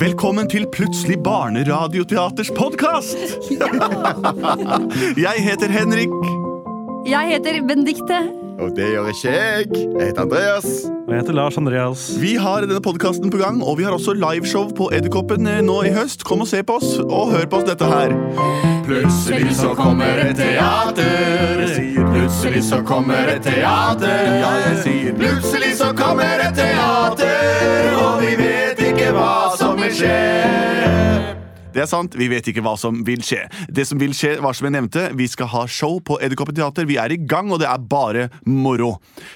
Velkommen til Plutselig barneradioteaters podkast! Jeg heter Henrik. Jeg heter Benedikte. Og det gjør ikke jeg. Jeg heter Andreas. Og jeg heter Lars Andreas. Vi har denne podkasten på gang, og vi har også liveshow på Edderkoppen eh, nå i høst. Kom og se på oss, og hør på oss dette her. Plutselig så kommer et teater. Jeg sier plutselig så kommer et teater. Ja, jeg sier plutselig så kommer et teater. Og vi vet ikke hva som vil skje. Det er sant, vi vet ikke hva som vil skje. Det som vil skje, var som jeg nevnte, vi skal ha show på Edderkoppen teater. Vi er i gang, og det er bare moro.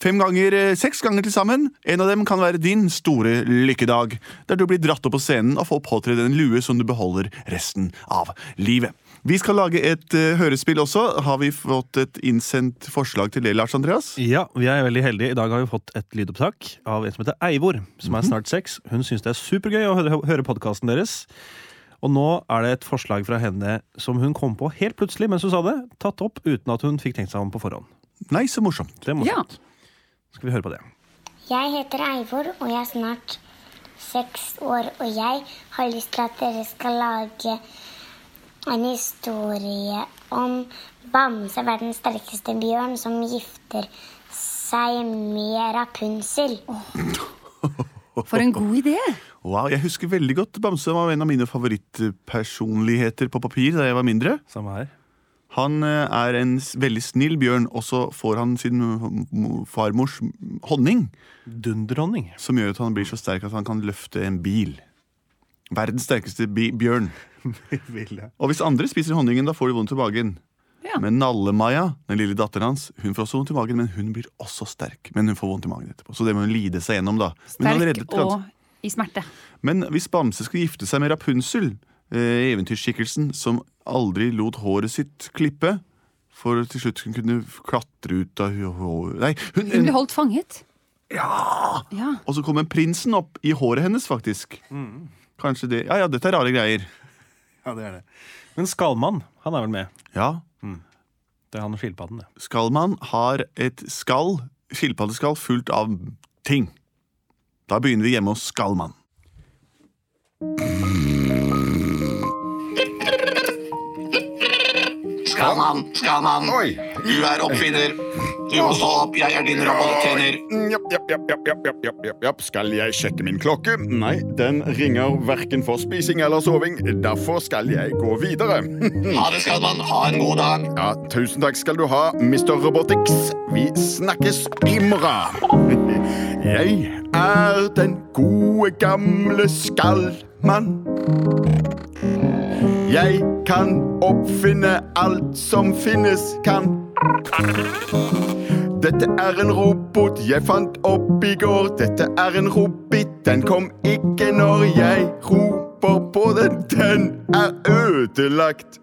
Fem ganger, eh, seks ganger til sammen. En av dem kan være din store lykkedag, der du blir dratt opp på scenen og får påtredd en lue som du beholder resten av livet. Vi skal lage et eh, hørespill også. Har vi fått et innsendt forslag til det, Lars Andreas? Ja, vi er veldig heldige. I dag har vi fått et lydopptak av en som heter Eivor, som er snart seks. Hun syns det er supergøy å høre, høre podkasten deres. Og nå er det et forslag fra henne som hun kom på helt plutselig mens hun sa det. Tatt opp uten at hun fikk tenkt seg om på forhånd. Nei, så morsomt. Det er Ja. morsomt. Skal vi høre på det. Jeg heter Eivor, og jeg er snart seks år. Og jeg har lyst til at dere skal lage en historie om Bamse, verdens sterkeste bjørn, som gifter seg med Rapunsel. For en god idé. Wow, Jeg husker veldig godt Bamse var en av mine favorittpersonligheter på papir da jeg var mindre. Samme her. Han eh, er en s- veldig snill bjørn, og så får han sin m- m- farmors honning, Dunderdronning. som gjør at han blir så sterk at han kan løfte en bil. Verdens sterkeste bi bjørn. Og hvis andre spiser honningen, da får de vondt i magen. Ja. Men Nallemaja, den lille datteren hans, hun får også vondt i magen, men hun blir også sterk. Men hun får vondt i magen etterpå, så det må hun lide seg gjennom, da. Men, han reddet Sterk og ganske- i smerte. men hvis Bamse skulle gifte seg med Rapunsel, eh, eventyrskikkelsen som aldri lot håret sitt klippe, for til slutt hun kunne klatre ut av håret Nei, Hun hun, ble holdt fanget. Ja! og så kommer prinsen opp i håret hennes, faktisk. Kanskje det Ja ja, dette er rare greier. Ja, det er det. Men Skalmann, han er vel med? Ja, Det er han og skilpadden, det. Skallmann har et skall, skilpaddeskall, fullt av ting. Da begynner vi hjemme hos Skallmann. Skalmann, Skalmann, Oi. du er oppfinner. Du må stå opp, jeg er din robottjener. Japp, japp, japp, japp, japp, japp, japp, japp, japp. Skal jeg sjekke min klokke? Nei, den ringer hverken for spising eller soving. Derfor skal jeg gå videre. Ha det, Skalmann. Ha en god dag. Ja, tusen takk skal du ha, Mr. Robotics. Vi snakkes i morgen. Jeg er den gode gamle skallmann. Jeg kan oppfinne alt som finnes kan. Dette er en robot jeg fant opp i går. Dette er en robot, den kom ikke når jeg roper på den. Den er ødelagt.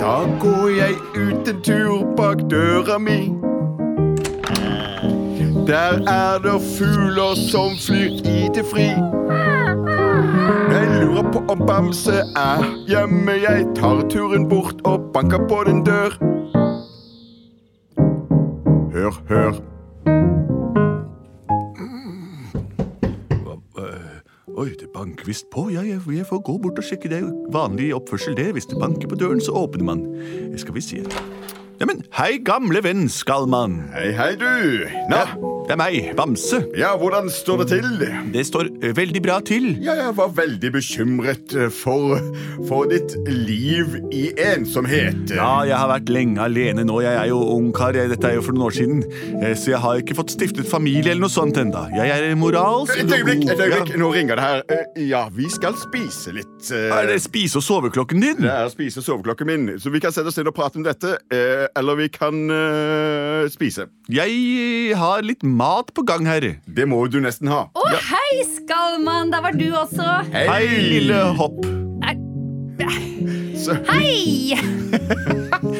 Da går jeg ut en tur bak døra mi. Der er det fugler som flyr i det fri. Jeg lurer på om Bamse er hjemme. Jeg tar turen bort og banker på den dør. Hør, hør. Oi, det banker visst på. Ja, jeg, jeg får gå bort og sjekke. Det er jo vanlig oppførsel, det. Hvis det banker på døren, så åpner man. Jeg skal vi se Neimen, hei, gamle venn Skallmann. Hei, hei, du. Nå, Ja, det er meg, Bamse. ja, hvordan står det til? Det står ø, veldig bra til. Ja, jeg var veldig bekymret eh, for, for ditt liv i ensomhet. Ja, jeg har vært lenge alene nå. Jeg er jo ungkar. Jeg- Dette er jo for noen år siden. Eh, Så jeg har ikke fått stiftet familie eller noe sånt enda. Jeg er moralsk Et øyeblikk, et øyeblikk. Ja. Nå ringer det her. Eh, Ja, vi skal spise litt. eh, Er det spise- og soveklokken din? Det er spise soveklokken min, så vi kan sette oss ned og prate om dette. eh, Eller vi kan eh, spise. Jeg eh, har litt mat på gang her. Det må du nesten ha. Å, hei, Skallmann! Der var du også. Hei, lille hopp. Så- Hei!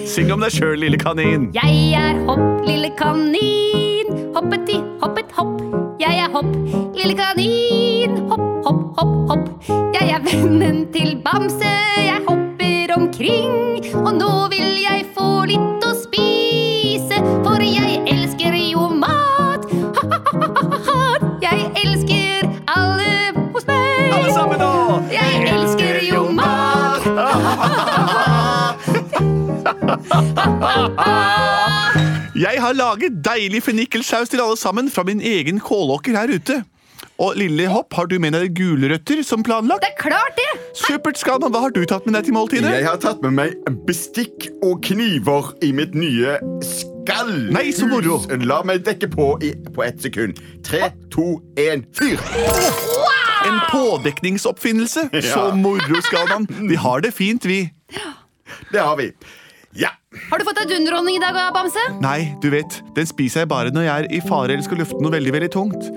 Syng om deg sjøl, lille kanin. Jeg er hopp, lille kanin. Hoppeti, hoppet, hopp. Jeg er hopp, lille kanin. Hopp, hopp, hopp, hopp. Jeg er vennen til Bamse. Jeg hopper omkring. Og nå vil jeg få litt å spise, for jeg elsker jo mat. Ha-ha-ha-ha. Jeg elsker alle hos meg. Jeg har laget deilig fennikelsaus til alle sammen fra min egen kålåker her ute. Og lille Hopp, har du med deg gulrøtter som planlagt? Det er klart, det! Supert, Skalman. Hva har du tatt med deg til måltidet? Jeg har tatt med meg bestikk og kniver i mitt nye skall. Nei, så moro. Hus. La meg dekke på i, på ett sekund. Tre, to, én, fyr! En pådekningsoppfinnelse? Så Ja. moro, Skalman. Vi har det fint, vi. Det har vi. Ja. Har du fått deg dunderdronning i dag, Bamse? Nei, du vet, den spiser jeg bare når jeg er i fare eller skal løfte noe veldig, veldig tungt.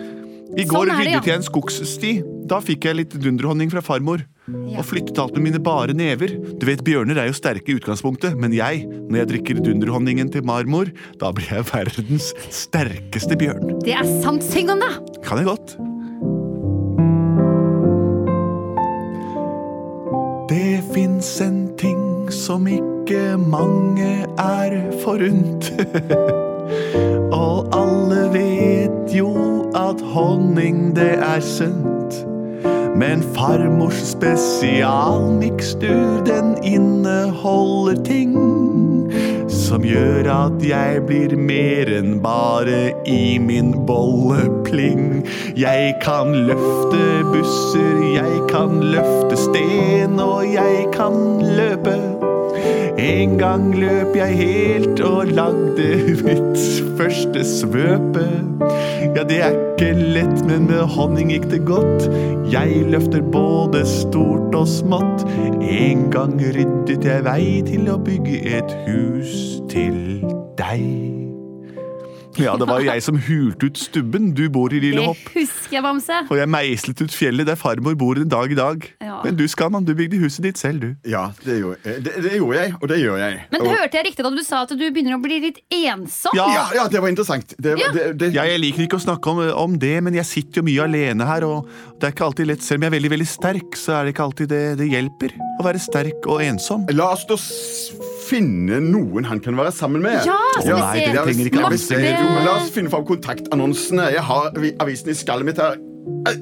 I går Sånn er det, ja. ryddet jeg en skogssti. Da fikk jeg litt dunderhonning fra farmor. Og flyttet alt med mine bare never. Du vet, Bjørner er jo sterke i utgangspunktet, men jeg, når jeg drikker dunderhonningen til marmor, da blir jeg verdens sterkeste bjørn. Det er sant. Syng om det! Kan jeg godt. Det fins en ting som ikke mange er forunt. Og alle vet jo at honning det er sunt. Men farmors spesialmikstur den inneholder ting som gjør at jeg blir mer enn bare i min bollepling. Jeg kan løfte busser, jeg kan løfte sten, og jeg kan løpe. En gang løp jeg helt og lagde mitt første svøpe. Ja, det er ikke lett, men med honning gikk det godt. Jeg løfter både stort og smått. En gang ryddet jeg vei til å bygge et hus til deg. Ja, det var jo jeg som hulte ut stubben. Du bor i Det Lille Hopp. husker jeg, Bamse. Og jeg meislet ut fjellet der farmor bor den dag i dag. Ja. Men du, Skalman, du bygde huset ditt selv, du. Ja, det gjorde, jeg- det, det gjorde jeg, og det gjør jeg. Men og, hørte jeg riktig da du sa at du begynner å bli litt ensom? Ja. ja, ja, det var interessant. Det, Ja. det, det, Jeg, jeg liker ikke å snakke om, om det, men jeg sitter jo mye alene her, og det er ikke alltid lett. Selv om jeg er veldig veldig sterk, så er det ikke alltid det, det hjelper å være sterk og ensom. La oss da s- finne noen han kan være sammen med. Ja, skal vi Nei, se. det trenger ikke ja, Marte. hvis det- jo, men La oss finne fram kontaktannonsene. Jeg har avi- avisen i skallet mitt her. Au.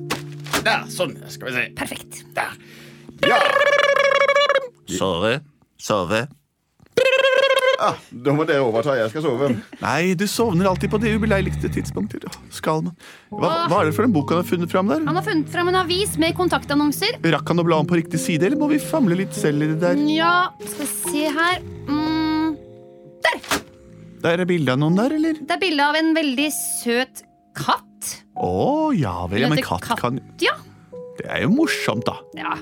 Der, sånn. Skal vi se. Perfekt. Der. Ja, Sove. Sove. ah, Da må dere overta. Jeg skal sove. Nei, du sovner alltid på det ubeleiligte tidspunkter. Skal man. Hva, hva er det for en bok han har funnet fram der? Han har funnet fram en avis med kontaktannonser. Rakk han å bla om på riktig side, eller må vi famle litt selv i det der? Ja, skal vi se her mm, Der er bilde av noen der, eller? Det er bilde av en veldig søt katt. Å, ja vel. Ja, men katt kan Ja. Det er jo morsomt, da. ja.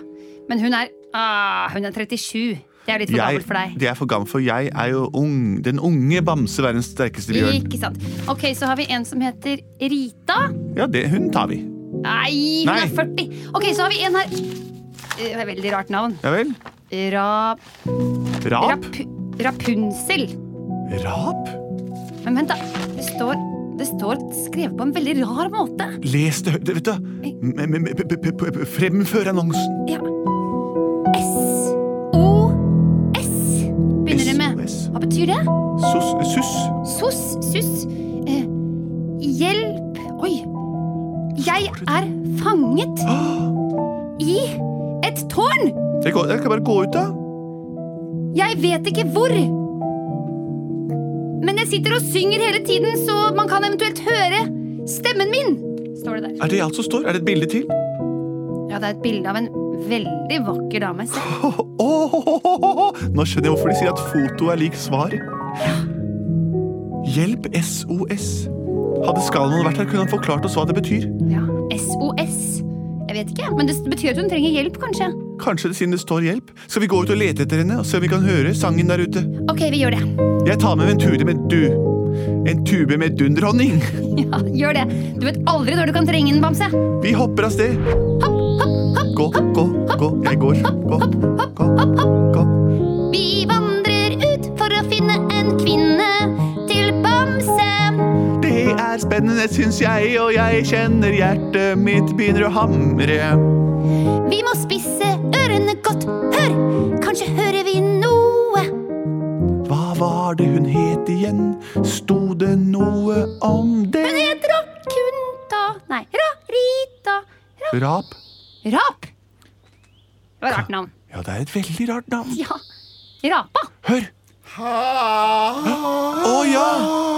Men hun er ah, Hun er 37. Det er litt for Jeg, gammelt for deg. det er for gammel, for jeg er jo ung. Den unge bamse verdens sterkeste bjørn. Ikke sant. Ok, Så har vi en som heter Rita. Ja, det, hun tar vi. Nei, hun Nei. er 40. Ok, så har vi en her. Eh, Det er veldig rart navn. Ja vel. Ra... Rap? Rap, Rapunzel. Rap? Men vent, da. Det står, det står skrevet på en veldig rar måte. Les det høyt. Vet du M- m- m- p- p- p- Fremfør annonsen. Ja. S-O-S begynner det med. SOS. Hva betyr det? Sus. sus. SOS, SUS. Eh, hjelp Oi. Jeg er fanget i et tårn. Jeg, går, jeg kan bare gå ut, da. Jeg vet ikke hvor. Men jeg sitter og synger hele tiden, så man kan eventuelt høre stemmen min. Står det der. Er det alt som står? Er det et bilde til? Ja, det er et bilde av en veldig vakker dame. Se. Åh, åh, åh, åh, åh. Nå skjønner jeg hvorfor de sier at foto er lik svar. Hjelp SOS. Hadde Skalman vært her, kunne han forklart oss hva det betyr. Ja, SOS. Jeg vet ikke, men det betyr at hun trenger hjelp, kanskje. Kanskje det siden det står hjelp? Skal vi gå ut og lete etter henne og se om vi kan høre sangen der ute? Ok, vi gjør det. Jeg tar med meg en tube med du. En tube med dunderhonning. Ja, Ah, gjør det. Du vet aldri når du kan trenge den, Bamse. Vi hopper av sted. Gå, gå, gå. Jeg går. Gå, gå, gå. Vi vandrer ut for å finne en kvinne til Bamse. Det er spennende, syns jeg, og jeg kjenner hjertet mitt begynner å hamre. Vi må spisse ørene godt. Hør, kanskje hører vi noe. Hva var det hun het igjen? Sto det noe om det? Rakunta Nei, ra, Rita. Ra, Rap? rap. Det var et rart navn. Ja, det er et veldig rart navn. Ja. Rapa. Hør! Å ja!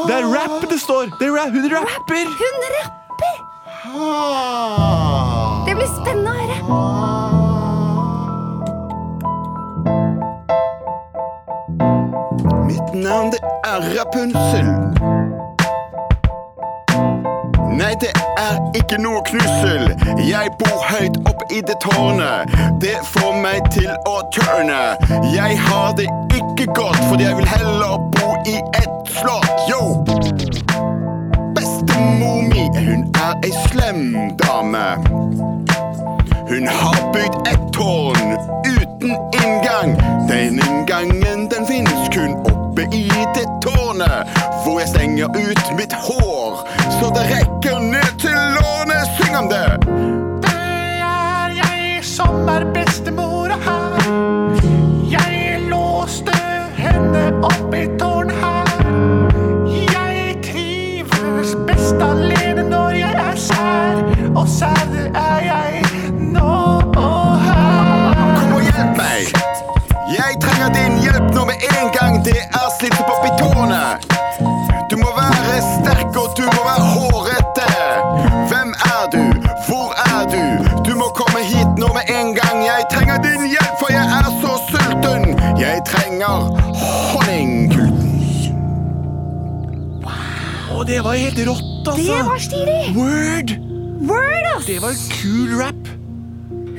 Det er rap det står! Det er rap. Hun rapper! Hun rapper! Ah. Det blir spennende å høre. Mitt navn det er Rapunzel. Nei, det er ikke noe knussel. Jeg bor høyt opp i det tårnet. Det får meg til å tørne. Jeg har det ikke godt, fordi jeg vil heller bo i et slott. Yo! Bestemor mi, hun er ei slem dame. Hun har bygd et tårn uten inngang. Den inngangen den finnes kun oppe i det tårnet, hvor jeg stenger ut mitt hår så det rekker ned til lårene. Syng om det! Det er jeg som er bestemora her. Jeg låste henne opp i tårnet her. Jeg trives best alene når jeg er sær, og sær det er jeg nå og her. Kom og hjelp meg! Jeg trenger din hjelp nå med en gang. Det er slitsomt opp i tårnet. Du må være sterk, og du må være hårete. Hvem er du? Hvor er du? Du må komme hit nå med en gang. Jeg trenger din hjelp, for jeg er så sulten. Jeg trenger honningkulten. Å, det var helt rått, altså! Det var stilig! Word! Word, ass! Det var kul rap.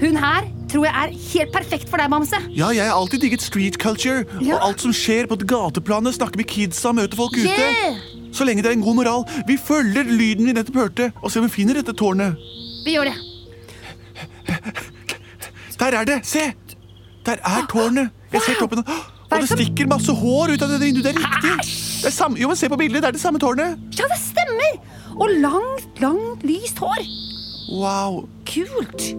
Hun her tror jeg er helt perfekt for deg, Bamse. Ja, jeg har alltid digget street culture. Ja. Og alt som skjer på et gateplan. Snakke med kidsa, møte folk Yeah! ute. Så lenge det er en god moral. Vi følger lyden vi nettopp hørte, og ser om vi finner dette tårnet. Vi gjør det. Der er det! Se! Der er tårnet. Jeg ser toppen. Og er det det som- stikker masse hår ut av det vinduet. Det er riktig. Det er samme, jo, men Se på bildet. Det er det samme tårnet. Ja, det stemmer! Og langt, langt lyst hår. Wow. Kult.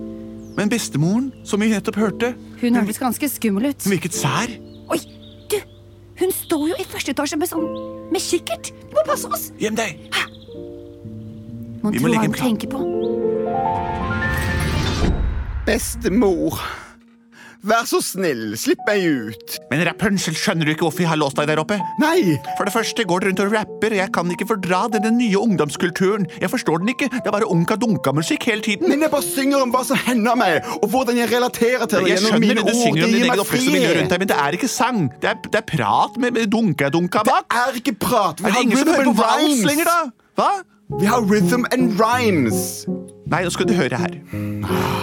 Men bestemoren, som vi nettopp hørte, Hun hørtes ganske skummel ut. hun virket sær. Oi, du! Hun står jo i første etasje med sånn med kikkert. Vi må passe oss! Gjem deg! Man Vi må tror legge en hva hun plan. tenker på. Bestemor, vær så snill, slipp meg ut. Men Rapunzel, skjønner du ikke hvorfor vi har låst deg der oppe? Nei! For det første går du rundt og rapper, og jeg kan ikke fordra denne nye ungdomskulturen. Jeg forstår den ikke. Det er bare unka-dunka-musikk hele tiden. Men jeg bare synger om hva som hender meg, og hvordan jeg relaterer til det Jeg gjennom skjønner mine det du ord. synger om Det din gir egen meg oppvekstmiljø rundt frihet. deg, men det er ikke sang. Det er, det er prat med, med dunka-dunka bak. Er ikke prat. Vi Er det har ingen som hører på rhythm and vals rhymes. lenger, da? Hva? Vi har rhythm and rhymes. Nei, nå skal du høre her.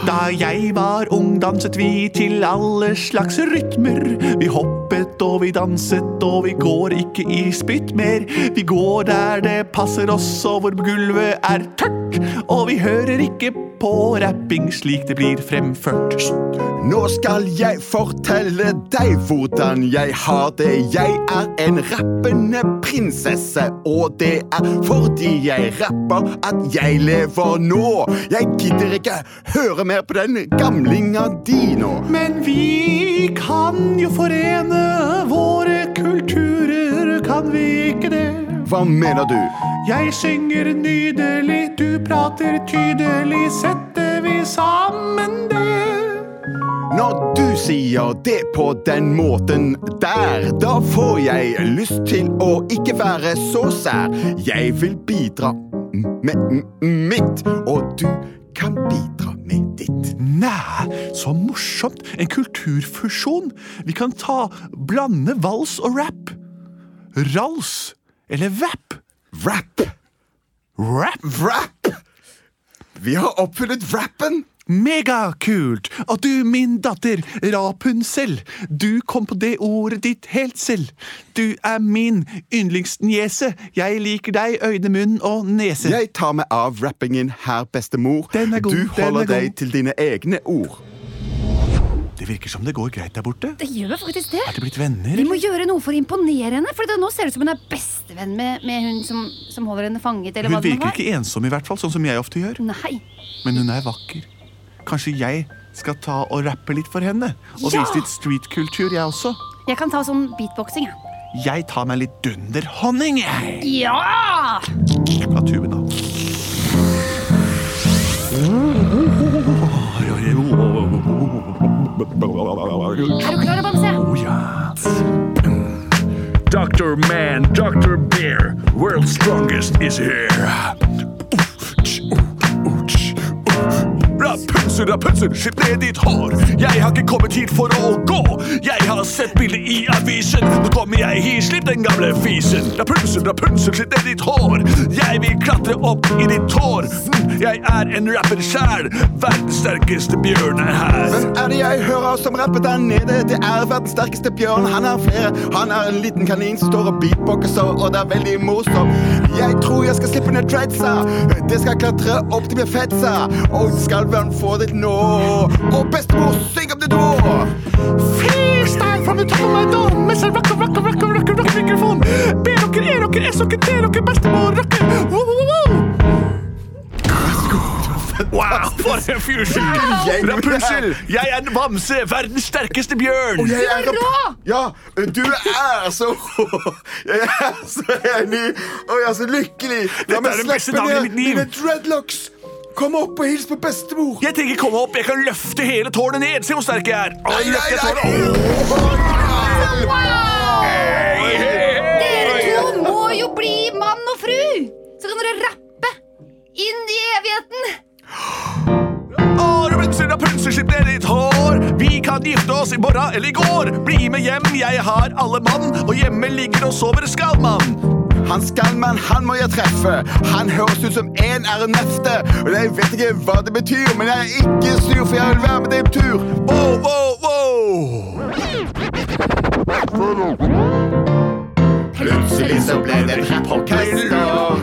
Da jeg var ung, danset vi til alle slags rytmer. Vi hoppet og vi danset, og vi går ikke i spytt mer. Vi går der det passer oss, og hvor gulvet er tørt. Og vi hører ikke på rapping slik det blir fremført. Nå skal jeg fortelle deg hvordan jeg har det. Jeg er en rappende prinsesse, og det er fordi jeg rapper at jeg lever nå. Jeg gidder ikke høre mer på den gamlinga di nå. Men vi kan jo forene våre kulturer, kan vi ikke det? Hva mener du? Jeg synger nydelig, du prater tydelig, setter vi sammen det? Når du sier det på den måten der, da får jeg lyst til å ikke være så sær. Jeg vil bidra med mitt, og du kan bidra med ditt. Nei, så morsomt! En kulturfusjon. Vi kan ta blande vals og rap. Rals eller vap. Rap! Rap. Rap! Vi har oppfunnet rappen! Megakult! Og du, min datter, Rapunzel, du kom på det ordet ditt helt selv. Du er min yndlingsniese. Jeg liker deg, øyne, munn og nese. Jeg tar meg av rappingen her, bestemor. Den er god, du den er holder deg god. til dine egne ord. Det virker som det går greit der borte. Det gjør faktisk det. Er de blitt venner? Vi må gjøre noe for å imponere henne, for det nå ser det ut som hun er bestevenn med, med hun som, som holder henne fanget. eller Hun hva det nå virker var. ikke ensom, i hvert fall, sånn som jeg ofte gjør. Nei. Men hun er vakker. Kanskje jeg skal ta og rappe litt for henne? Og Ja! vise litt streetkultur, jeg også. Jeg kan ta sånn beatboxing, jeg. Jeg tar meg litt dunderhonning, jeg. Ja! Fra tuben, da. Er du klar, Bamse? Å ja. Dr. Mm. Man, Dr. Bear, world's strongest is here. Rapunzel, Rapunzel, slipp ned ditt hår. Jeg har ikke kommet hit for å gå. Jeg har sett bildet i avisen. Nå kommer jeg hit, slipp den gamle fisen. Rapunzel, Rapunzel, slipp ned ditt hår. Jeg vil klatre opp i ditt hår. Hm, Jeg er en rapper sjæl. Verdens sterkeste bjørn er her. Hvem er det jeg hører som rapper der nede? Det er verdens sterkeste bjørn, han er flere. Han er en liten kanin som står og beatboxer, og det er veldig morsomt. Jeg tror jeg skal slippe ned dreadsa. Det skal klatre opp til bjeffetsa. Og skalven få ditt nå. Og bestemor, syng om det da! Freestyle from the top of my dome Mens jeg rocker, rocker, rocker, rocker, rocker mikrofon B rocker, E rocker, S rocker, D rocker, bestemor rocker Wow, wow, wow Wow, for en fusion! Gjeng. Rapunzel, jeg er en bamse, verdens sterkeste bjørn. Jeg er rå! Ja, du er så rå. Jeg er så enig, og jeg er så lykkelig. La Dette meg er den beste slippe dagen i ned mitt liv. mine dreadlocks. Kom opp og hils på bestemor. Jeg trenger ikke komme opp, jeg kan løfte hele tårnet ned. Se hvor sterk jeg er. Å, løfte tårnet. nei. Dere to må jo bli mann og fru! Så kan dere rappe inn i evigheten. Å, Rapunzel, Rapunzel, slipp ned ditt hår. Vi kan gifte oss i morgen eller i går. Bli med hjem, jeg har alle mann, og hjemme ligger og sover Skallmann. Han skal, men han må jeg treffe. Han høres ut som en er en nefte. Og jeg vet ikke hva det betyr, men jeg er ikke sur, for jeg vil være med deg på tur. Wow, wow, wow. Plutselig så ble det et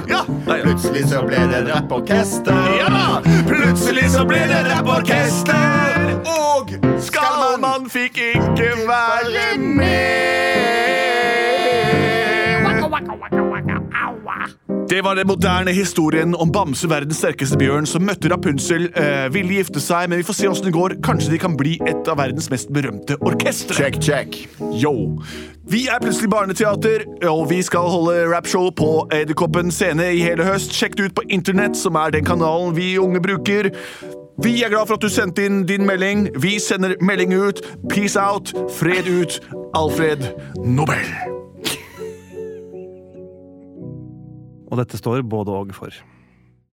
Ja, nei, ja. Plutselig så ble det et rapporkester. Ja da! Plutselig så ble det rapporkester. Og Skallmann fikk ikke være med. Det var den moderne historien om Bamse, verdens sterkeste bjørn, som møtte Rapunzel, eh, ville gifte seg, men vi får se åssen det går. Kanskje de kan bli et av verdens mest berømte orkestre. Check, check. Yo. Vi er plutselig barneteater, og vi skal holde rapshow på Edderkoppen scene i hele høst. Sjekk det ut på internett, som er den kanalen vi unge bruker. Vi er glad for at du sendte inn din melding. Vi sender melding ut. Peace out. Fred ut. Alfred Nobel. Og dette står både og for.